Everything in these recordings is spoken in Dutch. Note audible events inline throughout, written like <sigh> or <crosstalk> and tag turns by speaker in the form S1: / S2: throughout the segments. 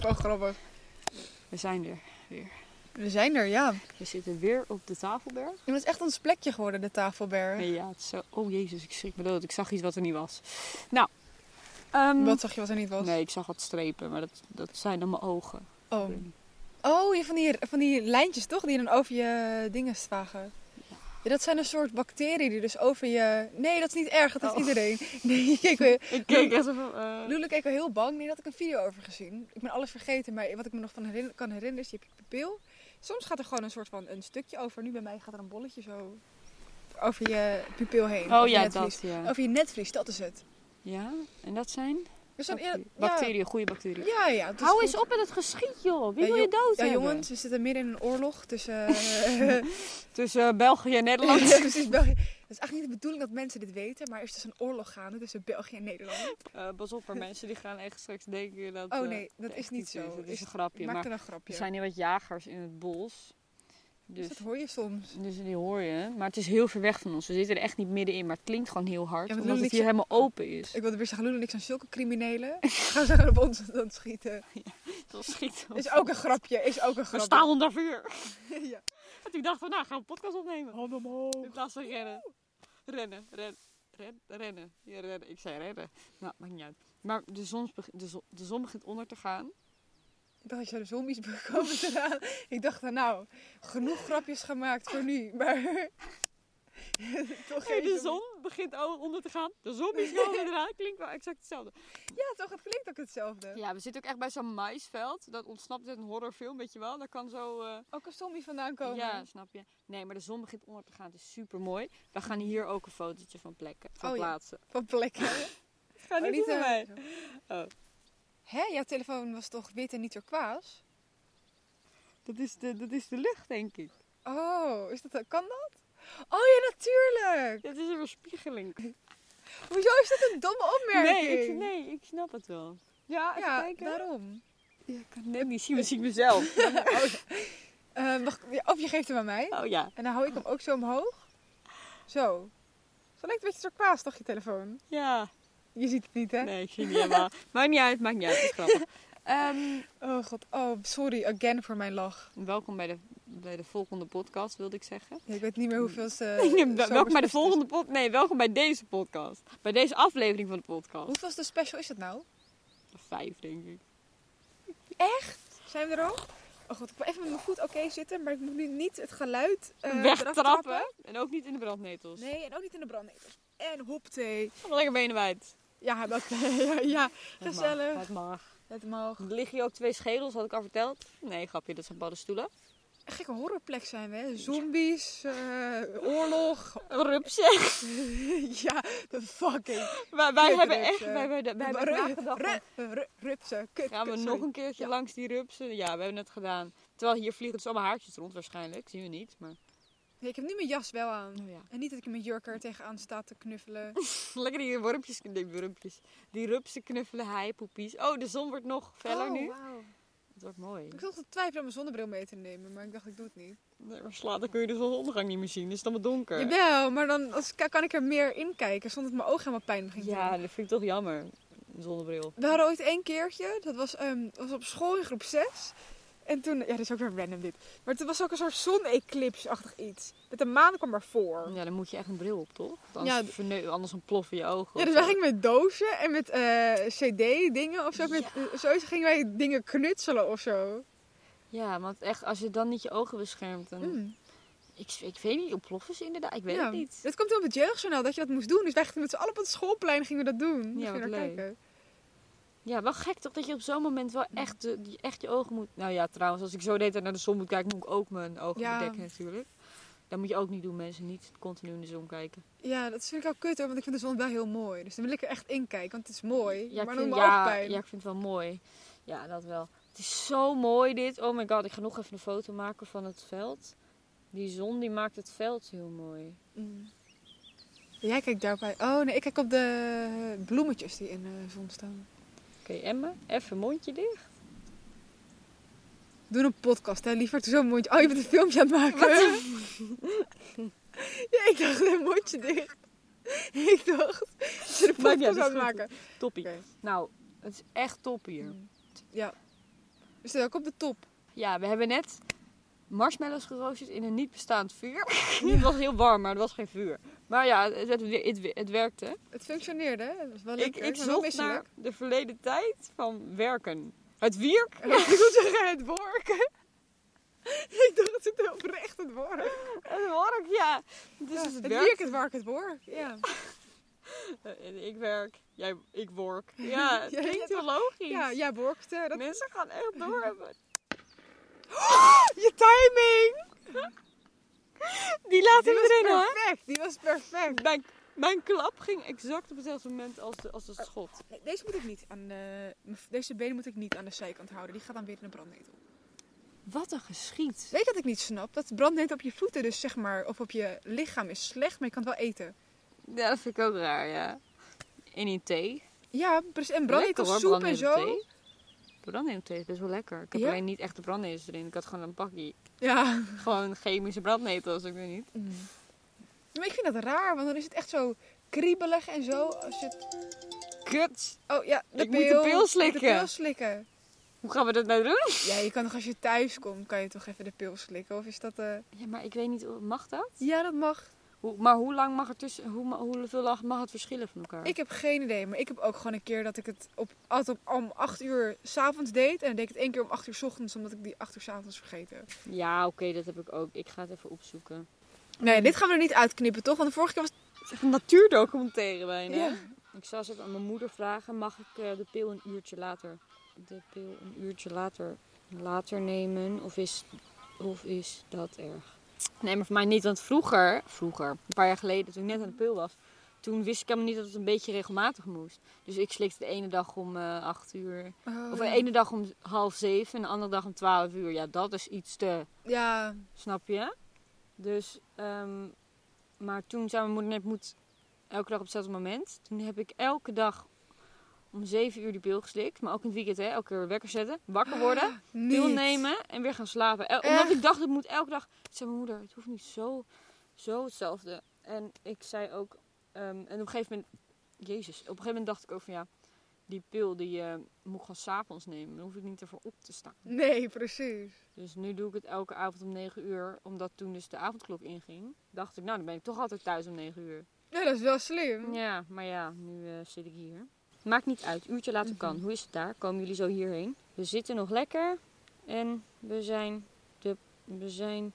S1: wel grappig.
S2: We zijn er weer.
S1: We zijn er, ja.
S2: We zitten weer op de tafelberg.
S1: Het is echt ons plekje geworden, de tafelberg.
S2: Nee, ja, het is zo... Oh jezus, ik schrik me dood. Ik zag iets wat er niet was. Nou. ehm,
S1: Wat zag je wat er niet was?
S2: Nee, ik zag wat strepen, maar dat, dat zijn dan mijn ogen.
S1: Oh, oh je- van, die, van die lijntjes toch, die dan over je dingen zwagen. Ja, dat zijn een soort bacteriën die dus over je... Nee, dat is niet erg, dat is
S2: Oh.
S1: iedereen. <laughs> Nee, je keek weer...
S2: Ik keek echt even... eh,
S1: Loele keek wel heel bang. Nee, daar had ik een video over gezien. Ik ben alles vergeten, maar wat ik me nog van herinner- kan herinneren is, je hebt je pupil. Soms gaat er gewoon een soort van een stukje over. Nu bij mij gaat er een bolletje zo over je pupil heen.
S2: Oh
S1: over je
S2: ja,
S1: netvlies.
S2: dat ja.
S1: Over je netvlies, dat is het.
S2: Ja, en dat zijn?
S1: Dus dan, ja,
S2: Bacteriën, Bacteriën, goede bacteriën.
S1: Ja, ja. het is
S2: Hou
S1: goed.
S2: eens op met het geschiet, joh. Wie
S1: Ja,
S2: wil je dood
S1: Ja,
S2: hebben?
S1: jongens, we zitten midden in een oorlog
S2: <laughs>
S1: tussen... eh, <laughs>
S2: Tussen eh, België en Nederland.
S1: ja, precies België. Het is eigenlijk niet de bedoeling dat mensen dit weten, maar er is dus een oorlog gaande tussen België en Nederland.
S2: Eh, pas op, maar mensen die gaan echt straks denken dat...
S1: Oh
S2: eh,
S1: nee, dat
S2: er
S1: is
S2: echt
S1: niet
S2: iets
S1: zo.
S2: Dat
S1: Is-
S2: is een grapje.
S1: Ik maak
S2: Maar
S1: er een
S2: er
S1: grapje.
S2: zijn hier wat jagers in het bos.
S1: Dus
S2: Dus,
S1: dat hoor je
S2: <laughs>
S1: soms.
S2: dus die hoor je. Maar het is heel ver weg van ons. We zitten er echt niet middenin, maar het klinkt gewoon heel hard.
S1: Ja, maar
S2: omdat
S1: Lulu,
S2: het
S1: ik
S2: hier helemaal open is.
S1: Ik wilde weer zeggen, Lulu en ik zijn zulke criminelen. <laughs> Gaan ze gewoon op ons aan het
S2: <laughs>
S1: schieten.
S2: <laughs> Dat schiet op.
S1: Is
S2: <laughs>
S1: ook een grapje, is ook een
S2: We
S1: grapje.
S2: staan onder vuur.
S1: <laughs>
S2: <laughs>
S1: ja.
S2: En toen dachten we, nou gaan we een podcast opnemen.
S1: Hand omhoog.
S2: In plaats van rennen. Rennen, rennen. Ren, rennen. Ja, rennen. Ik zei rennen. Nou, maakt niet uit. Maar de zon, beg- de zon, de zon begint onder te gaan.
S1: Ik dacht, als je de zombies komen eraan. Ik dacht, nou, genoeg grapjes gemaakt voor nu. Maar... <laughs> toch
S2: Hey,
S1: geen
S2: de
S1: zombies.
S2: zon begint al onder te gaan. De zombies komen <laughs> eraan. Klinkt wel exact hetzelfde.
S1: Ja, toch, het klinkt ook hetzelfde.
S2: Ja, we zitten ook echt bij zo'n maïsveld. Dat ontsnapt uit een horrorfilm, weet je wel. Dat kan zo... eh,
S1: Ook een zombie vandaan komen.
S2: Ja, snap je. Nee, maar de zon begint onder te gaan. Het is super mooi. We gaan hier ook een fotootje van plekken, van
S1: Oh ja.
S2: plaatsen.
S1: Van plekken.
S2: Ga
S1: Oh, eh,
S2: niet naar mij.
S1: zo.
S2: Oh.
S1: Hè, jouw telefoon was toch wit en niet turquoise?
S2: Dat is, de, dat is de lucht, denk ik.
S1: Oh, is dat, kan dat? Oh ja, natuurlijk!
S2: Dat is een weerspiegeling.
S1: Hoezo is dat een domme opmerking?
S2: Nee ik, nee, ik snap het wel. Ja, even
S1: Ja,
S2: kijken.
S1: daarom.
S2: Ja, ik kan het net niet zien, maar zie ik mezelf.
S1: Eh, mag, ik- of je geeft hem aan mij.
S2: <laughs> oh ja.
S1: En dan hou ik hem ook zo omhoog. Zo. Zo lijkt het een beetje turquoise, toch, je telefoon?
S2: Ja.
S1: Je ziet het niet, hè?
S2: Nee, ik zie het niet helemaal. Maakt niet uit, maakt niet uit. Het is <laughs> grappig. Ehm,
S1: Oh god, oh sorry again voor mijn lach.
S2: Welkom bij de, bij de volgende podcast, wilde ik <laughs> zeggen.
S1: Ja, ik weet niet meer hoeveel
S2: <laughs>
S1: ze...
S2: welkom bij de volgende podcast. Nee, welkom bij deze podcast. Bij deze aflevering van de podcast.
S1: Hoeveelste special is dat nou?
S2: Vijf, denk ik.
S1: Zijn we er al? Oh god, ik wil even met mijn voet oké zitten, maar ik moet nu niet het geluid eh, eraf trappen.
S2: <laughs> Wegtrappen. En ook niet in de brandnetels.
S1: Nee, en ook niet in de brandnetels. En hop thee.
S2: Allemaal lekker benen wijd.
S1: Ja, dat, <laughs> ja, ja,
S2: Het
S1: Gezellig.
S2: mag, Het mag.
S1: het mag.
S2: Er liggen hier ook twee schedels, had ik al verteld. Nee, grapje, dat zijn paddenstoelen.
S1: Een gekke horrorplek zijn we, hè? Zombies, eh, oorlog. <laughs>
S2: Een rupsje.
S1: ja, de fucking.
S2: Maar <laughs> wij
S1: Kut,
S2: hebben
S1: rupsen.
S2: echt, wij hebben, wij hebben
S1: Ru-
S2: nagedacht van,
S1: ru- ru- Rupsen, kut.
S2: Gaan we
S1: kut,
S2: nog
S1: sorry.
S2: een keertje
S1: Ja.
S2: langs die rupsen? Ja, we hebben het gedaan. Terwijl hier vliegen dus allemaal haartjes rond waarschijnlijk. Zien we niet, maar...
S1: Nee, ik heb nu mijn jas wel aan.
S2: Nou ja.
S1: En niet dat ik in mijn jurk er tegenaan sta te knuffelen.
S2: Lekker die wormpjes, nee, wormpjes. Die rupsen knuffelen, hij, poepies. Oh, de zon wordt nog feller
S1: Oh,
S2: nu.
S1: wauw.
S2: Het wordt mooi.
S1: Ik zat te twijfelen om mijn zonnebril mee te nemen, maar ik dacht ik doe het niet.
S2: Nee, maar slaat, dan kun je de zonsondergang niet meer zien. Het is dan wat donker.
S1: Jawel, maar dan als, ka- kan ik er meer in kijken zonder dat mijn ogen helemaal pijn ging doen.
S2: Ja, dat vind ik toch jammer. Een zonnebril.
S1: We hadden ooit één keertje, dat was, ehm, was op school in groep 6. En toen, ja, dit is ook weer random dit. Maar toen was ook een soort zon-eclipse-achtig iets. Met de maan kwam ervoor.
S2: Ja, dan moet je echt een bril op, toch? Want Anders,
S1: Ja,
S2: ja,
S1: d-
S2: anders ontploffen je ogen.
S1: Ja, dus
S2: of zo.
S1: wij gingen met dozen en met eh, cd-dingen of zo. Met, eh, zoiets gingen wij dingen knutselen of zo.
S2: Ja, want echt, als je dan niet je ogen beschermt, dan...
S1: Mm.
S2: Ik, ik weet niet, ontploffen ze inderdaad? Ik weet
S1: Ja.
S2: het niet.
S1: Dat komt heel op het jeugdjournaal, dat je dat moest doen. Dus wij gingen met z'n allen op het schoolplein gingen we dat doen. Moesten
S2: wat
S1: we naar
S2: leuk.
S1: kijken.
S2: Ja, wel gek toch dat je op zo'n moment wel echt, de- die- echt je ogen moet... Nou ja, trouwens, als ik zo de hele tijd naar de zon moet kijken, moet ik ook mijn ogen
S1: Ja.
S2: bedekken natuurlijk. Dat moet je ook niet doen, mensen. Niet continu in de zon kijken.
S1: Ja, dat vind ik wel kut hoor, want ik vind de zon wel heel mooi. Dus dan wil ik er echt in kijken, want het is mooi.
S2: Ja,
S1: maar
S2: ik
S1: dan
S2: vind,
S1: doet mijn
S2: ja,
S1: oogpijn.
S2: ja, ik vind het wel mooi. Ja, dat wel. Het is zo mooi dit. Oh my god, ik ga nog even een foto maken van het veld. Die zon die maakt het veld heel mooi.
S1: Mm. Jij kijkt daarbij. Oh nee, ik kijk op de bloemetjes die in de zon staan.
S2: Oké, Emma, even mondje dicht.
S1: Doe een podcast, hè? Liever zo'n mondje. Oh, je bent een filmpje aan het maken. <laughs> ja, ik dacht een mondje dicht. <laughs> ik dacht, ze een
S2: Maakt niet uit,
S1: podcast aan het
S2: Nou, is goed.
S1: maken.
S2: Toppie.
S1: Oké.
S2: Nou, het is echt top hier.
S1: Ja, We zitten ook op de top.
S2: Ja, we hebben net marshmallows geroosterd in een niet bestaand
S1: <laughs>
S2: vuur. het was heel warm, maar er was geen vuur. Maar ja, het, het, het, het werkte.
S1: Het functioneerde. hè? Het was wel
S2: Ik,
S1: lekker.
S2: ik
S1: maar wel
S2: zocht naar
S1: misselijk.
S2: de verleden tijd van werken. Het wierk?
S1: <laughs> Ik moet zeggen, <laughs> het worken. ik dacht, het zit heel oprecht, het work.
S2: Het work, ja. Dus
S1: Ja,
S2: het,
S1: het
S2: werk.
S1: werk, het work, het work. Ja.
S2: Eh, Ik werk, jij, ik
S1: <laughs>
S2: work. Ja, het
S1: Ja,
S2: klinkt heel logisch.
S1: Ja, jij workte. Dat...
S2: Mensen gaan echt door hebben.
S1: <laughs> Je timing!
S2: Die laten
S1: Die
S2: we
S1: was
S2: erin hoor.
S1: perfect. Die was perfect.
S2: Mijn, mijn klap ging exact op hetzelfde moment als, de, als het schot.
S1: Nee, deze moet ik niet aan de... Deze been moet ik niet aan de zijkant houden. Die gaat dan weer in een brandnetel.
S2: Wat een geschiet.
S1: Weet je dat ik niet snap? Dat brandnetel op je voeten dus, zeg maar, of op je lichaam is slecht, maar je kan het wel eten.
S2: Ja, dat vind ik ook raar, ja. In een thee.
S1: Ja, precies. En
S2: Lekker,
S1: brandnetel
S2: hoor,
S1: soep en zo.
S2: thee. Brandnetelthee is best wel lekker. Ik heb
S1: Ja?
S2: alleen niet echt de brandnetels erin. Ik had gewoon een pakje.
S1: Ja.
S2: Gewoon chemische brandnetels, ik weet niet.
S1: Mm. Maar ik vind dat raar, want dan is het echt zo kriebelig en zo. Als je het...
S2: Kut!
S1: Oh ja, de
S2: Ik moet de
S1: pil.
S2: pil slikken.
S1: De pil slikken.
S2: Hoe gaan we dat nou doen?
S1: Ja, je kan toch als je thuis komt, kan je toch even de pil slikken? Of is dat... eh,
S2: Ja, maar ik weet niet, mag dat?
S1: Ja, dat mag.
S2: Hoe, maar hoe lang mag het tussen, hoe, ma- hoeveel lag- mag het verschillen van elkaar?
S1: Ik heb geen idee, maar ik heb ook gewoon een keer dat ik het op, altijd op, om 8 uur s'avonds deed. En dan deed ik het één keer om 8 uur s ochtends, omdat ik die 8 uur s'avonds vergeten.
S2: Ja, oké, dat heb ik ook. Ik ga het even opzoeken. Hmm.
S1: Nee, dit gaan we er niet uitknippen, toch? Want de vorige keer was
S2: Het is een natuurdocumentaire bijna.
S1: Ja.
S2: Ik zal ze aan mijn moeder vragen, mag ik eh, de pil een uurtje later, de pil een uurtje later, later nemen? Of is, of is dat erg? Nee, maar voor mij niet, want vroeger, vroeger, een paar jaar geleden, toen ik net aan de pil was, toen wist ik helemaal niet dat het een beetje regelmatig moest. Dus ik slikte de ene dag om eh acht uur,
S1: Oh,
S2: of
S1: ja.
S2: de ene dag om half zeven en de andere dag om twaalf uur. Ja, dat is iets te...
S1: Ja,
S2: Snap je? Dus, ehm, maar toen zei mijn moeder net, moet elke dag op hetzelfde moment. Toen heb ik elke dag om 7 uur die pil geslikt. Maar ook in het weekend, hè, elke keer wekker zetten,
S1: <gasps>
S2: wakker worden,
S1: niet.
S2: pil nemen en weer gaan slapen. El- omdat
S1: Echt?
S2: ik dacht, het moet elke dag. Toen zei mijn moeder, het hoeft niet zo, zo hetzelfde. En ik zei ook, ehm, en op een gegeven moment, jezus, op een gegeven moment dacht ik ook van ja, die pil die eh, moet ik gewoon s'avonds nemen. Dan hoef ik niet ervoor op te staan.
S1: Nee, precies.
S2: Dus nu doe ik het elke avond om 9 uur, omdat toen dus de avondklok inging. Dacht ik, nou dan ben ik toch altijd thuis om 9 uur.
S1: Ja, dat is wel slim.
S2: Ja, maar ja, nu eh, zit ik hier. Maakt niet uit, uurtje later kan.
S1: Mhm.
S2: Hoe is het daar? Komen jullie zo hierheen? We zitten nog lekker en we zijn de, we zijn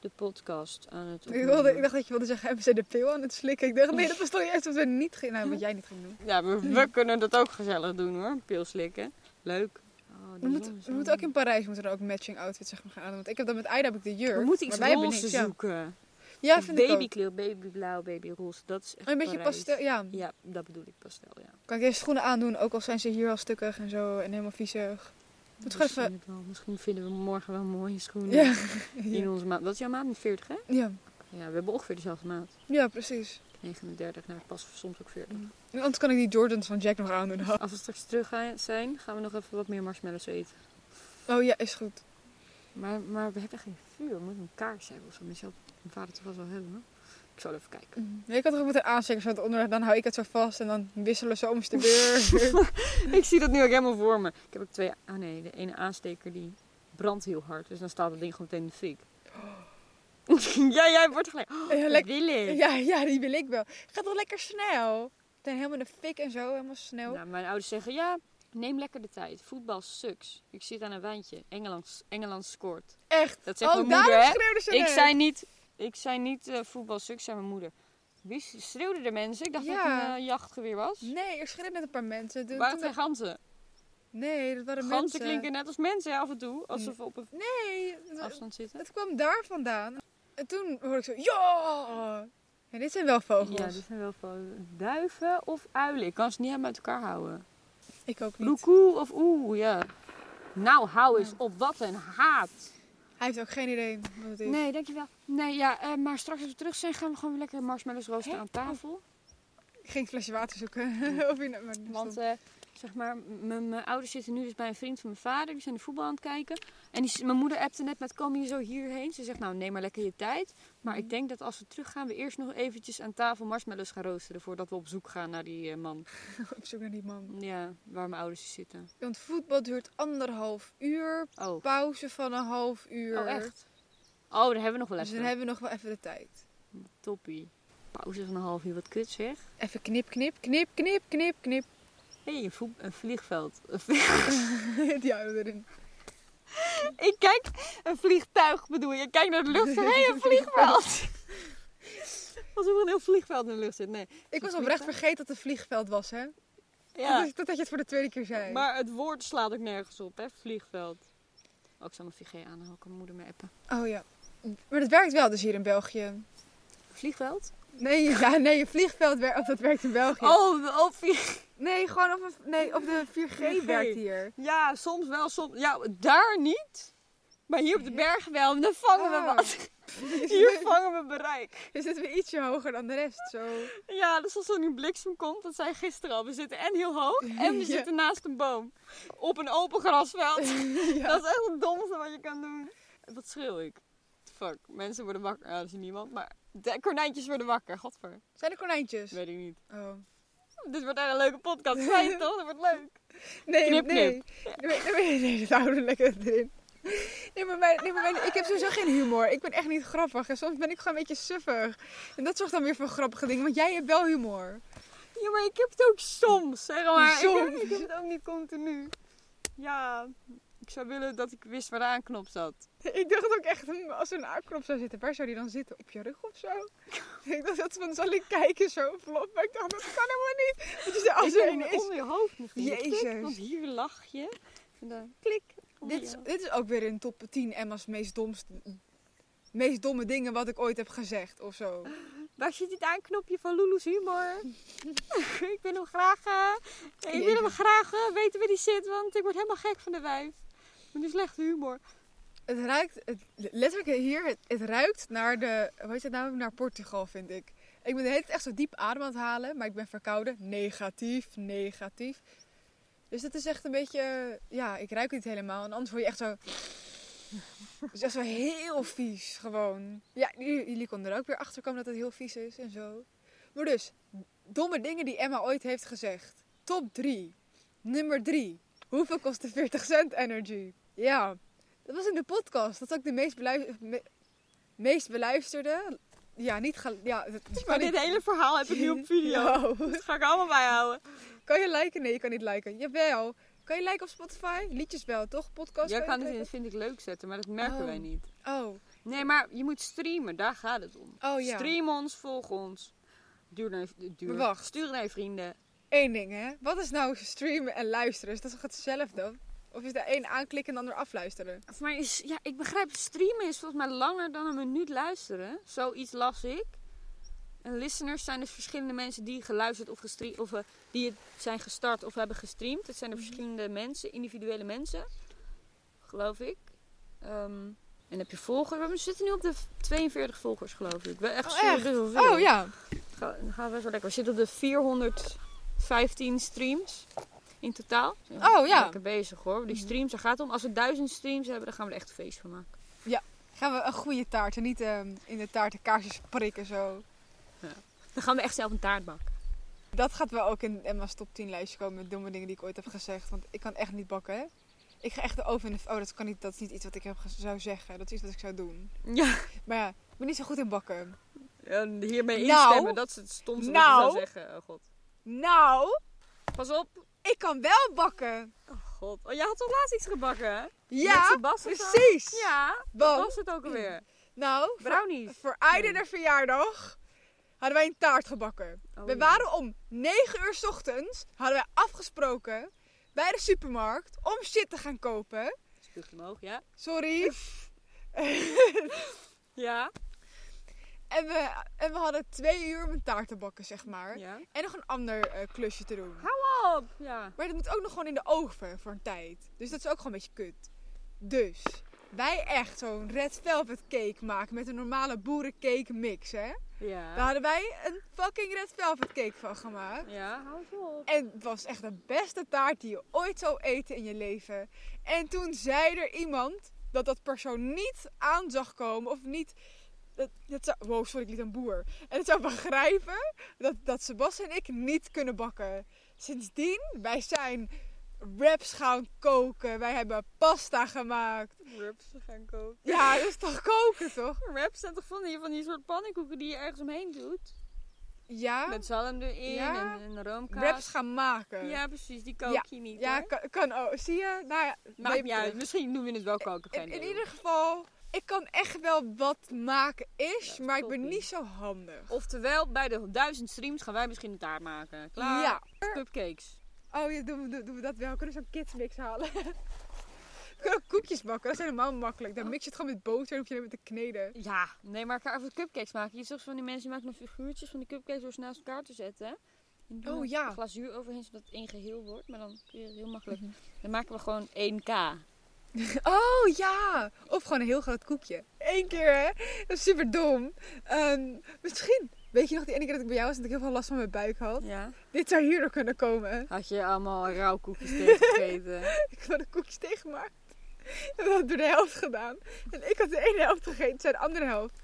S2: de podcast aan het
S1: Ik, wilde, ik
S2: opnemen.
S1: dacht dat je wilde zeggen, hebben ze de pil aan het slikken? Ik dacht, nee, dat was toch juist wat we niet gingen... Nou, wat jij niet ging doen.
S2: Ja, we,
S1: <laughs>
S2: we kunnen dat ook gezellig doen hoor, pil slikken. Leuk. Oh, die
S1: We
S2: zon
S1: moeten,
S2: is
S1: we
S2: zo
S1: moeten ook in Parijs moeten er ook matching outfits zeg maar, gaan aan. Want ik heb dan met Aida heb ik de
S2: leuk.
S1: jurk.
S2: We moeten iets
S1: maar wij hebben
S2: roze
S1: niks, ja.
S2: zoeken.
S1: Ja,
S2: Of
S1: vind ik ook. Oh,
S2: babykleur, babyblauw, babyroze. Dat is echt
S1: Een beetje
S2: Parijs.
S1: pastel, ja.
S2: Ja, dat bedoel ik pastel, ja.
S1: Kan ik deze schoenen aandoen, ook al zijn ze hier al stukkig en zo en helemaal viezig. Moet gewoon
S2: misschien,
S1: even...
S2: het wel. misschien vinden we morgen wel mooie schoenen.
S1: Ja.
S2: In onze maat. Wat is jouw maat? Een 40, hè?
S1: ja.
S2: Ja, we hebben ongeveer dezelfde maat.
S1: Ja, precies.
S2: 39, nou pas soms ook 40.
S1: En anders kan ik die Jordans van Jack nog aandoen. <laughs>
S2: Als we straks terug gaan- zijn, gaan we nog even wat meer marshmallows eten.
S1: Oh ja, is goed.
S2: Maar, maar we hebben geen vuur. We moeten een kaars hebben of zo. Misschien zal mijn vader toch wel wel hebben. hoor. Ik zal even kijken. <laughs>
S1: Nee, Mm. ik had toch ook met een aansteker zo het onderweg, dan hou ik het zo vast en dan wisselen ze om eens de
S2: <laughs>
S1: beurt.
S2: ik zie dat nu ook helemaal voor me. Ik heb ook twee... Ah nee, de ene aansteker die brandt heel hard. Dus dan staat dat ding gewoon meteen in de fik. Oh. <laughs> ja, jij wordt gelijk. Oh,
S1: Ja,
S2: ik
S1: lekker-
S2: wil het.
S1: ja, ja, die wil ik wel. Gaat wel lekker snel. Dan helemaal in de fik en zo, helemaal snel.
S2: Nou, mijn ouders zeggen ja, neem lekker de tijd. Voetbal sucks. Ik zit aan een wijntje. Engeland, Engeland scoort.
S1: Echt.
S2: Dat zegt
S1: Oh,
S2: mijn moeder,
S1: daarom
S2: hè?
S1: schreeuwden ze
S2: Ik
S1: net.
S2: zei niet, ik zei niet eh, voetbal sucks, zei mijn moeder. Wie schreeuwde de mensen? Ik dacht dat het
S1: Ja.
S2: een eh, jachtgeweer was.
S1: Nee, er schreeuwden net een paar mensen. Toen-
S2: Waren
S1: toen
S2: het geen ganzen?
S1: Nee, dat waren
S2: Ganzen
S1: mensen. Mm.
S2: klinken net als mensen hè, af en toe, alsof we op een
S1: Nee, dat-
S2: afstand zitten.
S1: Het kwam daar vandaan. En toen hoorde ik zo, ja! En dit zijn wel vogels.
S2: Ja, die zijn wel van duiven of uilen. Ik kan ze niet helemaal uit elkaar houden.
S1: Ik ook niet.
S2: Loekoe of oeh, ja. Nou, hou eens op, wat een haat.
S1: Hij heeft ook geen idee wat het is.
S2: Nee, dankjewel. Nee, ja, eh, maar straks als we terug zijn gaan we gewoon weer lekker marshmallows roosteren
S1: Hè? Oh,
S2: aan tafel.
S1: Ik ging een flesje water zoeken. <laughs> of je, nou- maar die
S2: Want
S1: stond-
S2: eh, zeg maar, m- mijn mijn ouders zitten nu dus bij een vriend van mijn vader. Die zijn de voetbal aan het kijken. En die, s- mijn moeder appte net met, kom je zo hierheen? Ze zegt, nou neem maar lekker je tijd. Maar
S1: Mhm.
S2: ik denk dat als we teruggaan, we eerst nog eventjes aan tafel marshmallows gaan roosteren. Voordat we op zoek gaan naar die eh, man.
S1: Op zoek naar die man.
S2: Ja, waar mijn ouders zitten.
S1: Want voetbal duurt anderhalf uur.
S2: Oh,
S1: Pauze van een half uur.
S2: oh echt? Oh, daar hebben we nog wel
S1: Dus
S2: even.
S1: dan hebben we nog wel even de tijd.
S2: Toppie. Pauze van een half uur, wat kut zeg.
S1: Even knip, knip, knip, knip, knip, knip. <laughs>
S2: Hé, hey, een, voet- een vliegveld. Een vlie-
S1: Die houden we erin.
S2: Ik kijk, een vliegtuig bedoel je. Ik kijk naar de lucht. Hé, hey, <laughs> een vliegveld. Alsof er een heel vliegveld in de lucht zit. Nee.
S1: Ik was
S2: vliegtuig?
S1: oprecht vergeten dat het een vliegveld was, hè?
S2: Ja,
S1: <laughs> Dat, dat je het voor de tweede keer zei.
S2: maar het woord slaat ook nergens op, hè? Vliegveld. Oh, ik zal mijn 4G aanhouden. Ik kan mijn moeder me appen.
S1: Oh ja. Maar dat werkt wel dus hier in België.
S2: Vliegveld?
S1: Nee, <laughs> ja, nee, een vliegveld werkt, dat werkt in België.
S2: Oh, oh, vlieg-
S1: Nee, gewoon op, een, nee, op de 4G
S2: 4G.
S1: werkt hier.
S2: Ja, soms wel, soms... Ja, daar niet. Maar hier op de bergen wel. <laughs> En dan vangen we
S1: Ah. <laughs>
S2: wat.
S1: Is
S2: Hier
S1: het-
S2: vangen we bereik.
S1: <laughs> Is het weer ietsje hoger dan de rest? Zo.
S2: Ja, dus als er nu bliksem komt, dat zei gisteren al. We zitten en heel hoog en <laughs> we
S1: Ja.
S2: zitten naast een boom. Op een open grasveld.
S1: <laughs> Ja.
S2: Dat is echt het domste wat je kan doen. Wat schreeuw ik? Fuck, mensen worden wakker. Ja, dat is niemand, maar de konijntjes worden wakker. Godver,
S1: Zijn er konijntjes?
S2: weet ik niet.
S1: Oh.
S2: Dit wordt echt een leuke podcast. Fijn <laughs> toch? Dat wordt leuk.
S1: Nee,
S2: Knip,
S1: nee. Nee, nee, nee, dat houden we lekker erin. Nee, maar, mijn, nee, maar mijn- ik heb sowieso geen humor. Ik ben echt niet grappig. En soms ben ik gewoon een beetje suffig. En dat zorgt dan weer voor grappige dingen. Want jij hebt wel humor.
S2: Ja, maar ik heb het ook soms, zeg maar. Ik,
S1: Soms.
S2: heb, ik heb het ook niet continu. Ja, ik zou willen dat ik wist waar de aanknop zat.
S1: <laughs> Ik dacht ook echt, hmm, als er een aapknop zou zitten, waar zou die dan zitten? Op je rug of zo? <laughs> Ik dacht, dat is van, zal ik kijken zo vlot? Maar ik dacht, dat kan helemaal niet. Want je zei, als
S2: Ik oh,
S1: er
S2: ben
S1: een is...
S2: onder je hoofd misschien.
S1: Jezus.
S2: Klik, want hier lach je. En dan klik. Oh, onder
S1: Dit is,
S2: je hoofd.
S1: dit is ook weer in top 10 Emma's meest, domste, meest domme dingen wat ik ooit heb gezegd of zo.
S2: Waar zit dit aanknopje van Lulu's
S1: <laughs>
S2: humor? ik wil hem graag, eh, ik wil hem
S1: Jezus.
S2: graag eh, weten waar die zit, want ik word helemaal gek van de wijf. Met die slechte humor.
S1: Het ruikt, het, letterlijk hier, het, het ruikt naar de, hoe heet het nou, naar Portugal vind ik. Ik ben de hele tijd echt zo diep adem aan het halen, maar ik ben verkouden. Negatief, negatief. Dus het is echt een beetje, eh, ja, ik ruik het niet helemaal. En anders word je echt zo, <laughs> het is echt zo heel vies gewoon. Ja, jullie, jullie konden er ook weer achter komen dat het heel vies is en zo. Maar dus, domme dingen die Emma ooit heeft gezegd. Top 3. Nummer 3. Hoeveel kost de 40 cent energy? Ja, dat was in de podcast. Dat is ook de meest, belui- me- meest beluisterde. Ja, niet ga- ja, dat- je
S2: Maar
S1: kan niet-
S2: dit hele verhaal heb ik nu
S1: <laughs>
S2: op video.
S1: Yo.
S2: Dat ga ik allemaal bijhouden.
S1: Kan je liken? Nee, je kan niet liken. Jawel. Kan je liken op Spotify? Liedjes wel, toch? Podcast?
S2: Jij
S1: je
S2: kan het in
S1: liken?
S2: Vind ik Leuk zetten, maar dat merken
S1: Oh.
S2: wij niet.
S1: Oh,
S2: Nee, maar je moet streamen. Daar gaat het om.
S1: oh ja.
S2: Stream ons, volg ons. Duur naar, je- duur.
S1: Maar wacht.
S2: Stuur naar je vrienden.
S1: Eén ding, hè? Wat is nou streamen en luisteren? Is dat toch hetzelfde? Of is de een aanklikken en de ander afluisteren?
S2: Maar is, ja, ik begrijp, streamen is volgens mij langer dan een minuut luisteren. Zoiets las ik. En listeners zijn dus verschillende mensen die geluisterd of gestreamd, of eh, die het zijn gestart of hebben gestreamd. Het zijn er
S1: Mhm.
S2: verschillende mensen, individuele mensen, geloof ik. Ehm, en heb je volgers? We zitten nu op de 42 volgers, geloof ik. Wel echt
S1: Oh,
S2: serieus
S1: echt?
S2: heel veel.
S1: Oh ja.
S2: Ga- dan gaan we zo lekker. We zitten op de 415 streams in totaal.
S1: Oh, ja. Mhm.
S2: Lekker bezig hoor. Die streams, daar gaat het om. Als we duizend streams hebben, dan gaan we er echt een feest van maken.
S1: Gaan we een goede taart en niet ehm, in de taart de kaarsjes prikken zo.
S2: Dan gaan we echt zelf een taart bakken.
S1: Dat gaat wel ook in Emma's top 10 lijstje komen met domme dingen die ik ooit heb gezegd. Want ik kan echt niet bakken, hè? Ik ga echt de oven in de... Oh, dat kan niet. Dat is niet iets wat ik heb ge- zou zeggen. Dat is iets wat ik zou doen.
S2: Ja,
S1: Maar ja, ik ben niet zo goed in bakken.
S2: en hiermee
S1: Nou.
S2: instemmen. Dat is het stomste
S1: Nou.
S2: wat ik zou zeggen. Oh god.
S1: Nou,
S2: Pas op.
S1: ik kan wel bakken.
S2: Oh god. Oh, jij had toch laatst iets gebakken hè? Met
S1: Ja, Oh.
S2: Sebastian.
S1: precies.
S2: Ja, dat
S1: Want,
S2: was het ook alweer.
S1: nou, voor,
S2: Brownies.
S1: voor Aiden haar verjaardag hadden wij een taart gebakken.
S2: Oh,
S1: we
S2: ja.
S1: waren om 9 uur 's ochtends, hadden wij afgesproken bij de supermarkt om shit te gaan kopen.
S2: Spuug omhoog, ja.
S1: Sorry.
S2: Ja.
S1: En we, en we hadden twee uur om een taart te bakken, zeg maar.
S2: ja.
S1: En nog een ander eh, klusje te doen.
S2: Hou op. Ja.
S1: Maar dat moet ook nog gewoon in de oven voor een tijd. Dus dat is ook gewoon een beetje kut. Dus wij echt zo'n red velvet cake maken met een normale boerencake mix, hè? Daar
S2: Ja.
S1: hadden wij een fucking red velvet cake van gemaakt.
S2: Ja, hou eens op.
S1: En het was echt de beste taart die je ooit zou eten in je leven. En toen zei er iemand dat dat persoon niet aan zag komen of niet. Dat, dat zou, wow, sorry, ik liet een boer. En het zou begrijpen dat, dat Sebastian en ik niet kunnen bakken. Sindsdien, wij zijn wraps gaan koken. Wij hebben pasta gemaakt.
S2: Wraps gaan koken. <laughs>
S1: Ja, dat is toch koken, toch?
S2: Wraps zijn toch van die, van die soort pannenkoeken die je ergens omheen doet?
S1: Ja,
S2: Met zalm erin
S1: Ja.
S2: en, en roomkaas.
S1: wraps gaan maken.
S2: Eh, Ja, precies. Die kook
S1: Ja.
S2: je niet,
S1: Ja,
S2: hoor.
S1: kan, kan ook. Zie je? Nou ja,
S2: Maakt niet Eh,
S1: weet-
S2: uit. Misschien noem je het wel koken.
S1: In,
S2: geen
S1: in
S2: idee.
S1: ieder geval, ik kan echt wel wat maken
S2: Ja,
S1: is,
S2: dat
S1: maar ik
S2: klopt
S1: ben
S2: niet.
S1: niet zo handig.
S2: Oftewel, bij de duizend streams gaan wij misschien een taart maken. Klaar?
S1: Ja.
S2: Cupcakes.
S1: Oh ja, doen we, doen we dat wel. Kunnen we zo'n kidsmix halen? <laughs> we kunnen ook koekjes bakken, dat is helemaal makkelijk. Dan mix je het gewoon met boter en hoef je alleen maar te kneden.
S2: Ja. Nee, maar elkaar over cupcakes maken. Je zegt van die mensen die maken nog figuurtjes van die cupcakes door ze naast elkaar te zetten. En doen
S1: Oh,
S2: er
S1: ja.
S2: glazuur overheen zodat het één geheel wordt. Maar dan kun je het heel makkelijk. Dan maken we gewoon 1K.
S1: Oh ja! Of gewoon een heel groot koekje. Eén keer hè? Dat is super dom. Ehm, misschien, weet je nog die ene keer dat ik bij jou was en dat ik heel veel last van mijn buik had?
S2: Ja.
S1: Dit zou hierdoor kunnen komen.
S2: Had je allemaal rauwkoekjes <laughs> tegengegeten.
S1: Ik had de koekjes tegengemaakt. En we hadden door de helft gedaan. En ik had de ene helft gegeten, zij de andere helft.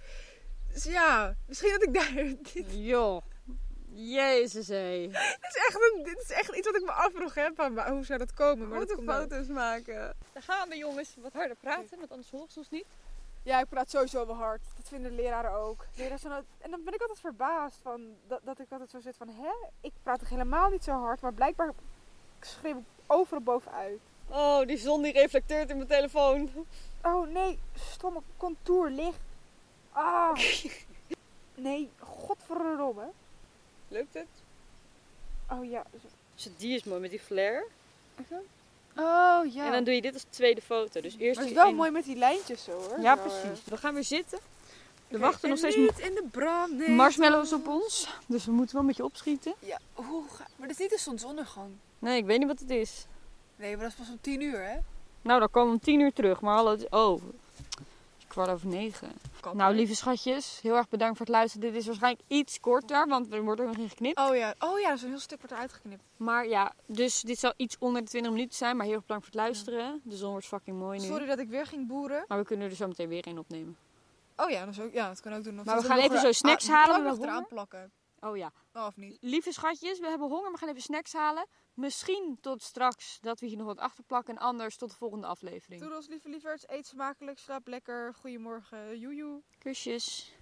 S1: Dus ja, misschien dat ik daar... <laughs> Dit
S2: Joh. Jezus, hé.
S1: is echt, een- dit is echt iets wat ik me afvroeg, hè. Van, waar- hoe zou dat komen? Maar dat komt wel.
S2: maken. Dan gaan we jongens wat harder praten, want anders horen ze ons niet.
S1: Ja, ik praat sowieso wel hard. Dat vinden de leraren ook. Leraren zijn al- en dan ben ik altijd verbaasd van, dat, dat ik altijd zo zit van... Hè, ik praat toch helemaal niet zo hard? Maar blijkbaar schreeuw ik overal bovenuit.
S2: Oh, die zon die reflecteert in mijn telefoon. <laughs>
S1: Oh nee, stomme contourlicht. <laughs> Ah. Nee, godverdomme.
S2: Lukt het?
S1: Oh ja.
S2: Dus die is mooi met die flare.
S1: Oh ja.
S2: En dan doe je dit als tweede foto. Dus eerst
S1: maar het is
S2: die
S1: wel
S2: in-
S1: mooi met die lijntjes zo hoor.
S2: Ja,
S1: Zo, eh.
S2: precies. We gaan weer zitten. Er
S1: Oké,
S2: wachten nog
S1: en
S2: steeds
S1: niet in de brand. nee.
S2: marshmallows op ons. Dus we moeten wel een beetje opschieten.
S1: Ja, hoe ga- Maar dat is niet de zonsondergang.
S2: Nee, ik weet niet wat het is.
S1: Nee, maar dat is pas om tien uur hè.
S2: Nou, dan komen we om tien uur terug. Maar hallo, het is- oh, het is kwart over negen.
S1: Kan
S2: Nou, lieve schatjes, heel erg bedankt voor het luisteren. Dit is waarschijnlijk iets korter, want er wordt ook nog in geknipt.
S1: Oh ja. Oh ja, dat is een heel stuk wordt eruit geknipt.
S2: Maar ja, dus dit zal iets onder de 20 minuten zijn. Maar heel erg bedankt voor het luisteren. De zon wordt fucking mooi nu.
S1: Sorry dat ik weer ging boeren.
S2: Maar we kunnen er zo meteen weer een opnemen.
S1: Oh ja, dat, is ook, ja, dat kan ook doen. Of
S2: Maar we
S1: dat
S2: gaan
S1: nog
S2: even
S1: weer-
S2: zo snacks
S1: Ah, we
S2: halen,
S1: kunnen
S2: we
S1: ook nog
S2: hebben
S1: eraan plakken.
S2: Oh ja.
S1: Oh, of niet?
S2: Lieve schatjes, we hebben honger. We gaan even snacks halen. Misschien tot straks dat we hier nog wat achterplakken. En anders tot de volgende aflevering.
S1: Doedels, lieve lieverds. Eet smakelijk, slaap lekker. Goedemorgen, joejoe.
S2: Kusjes.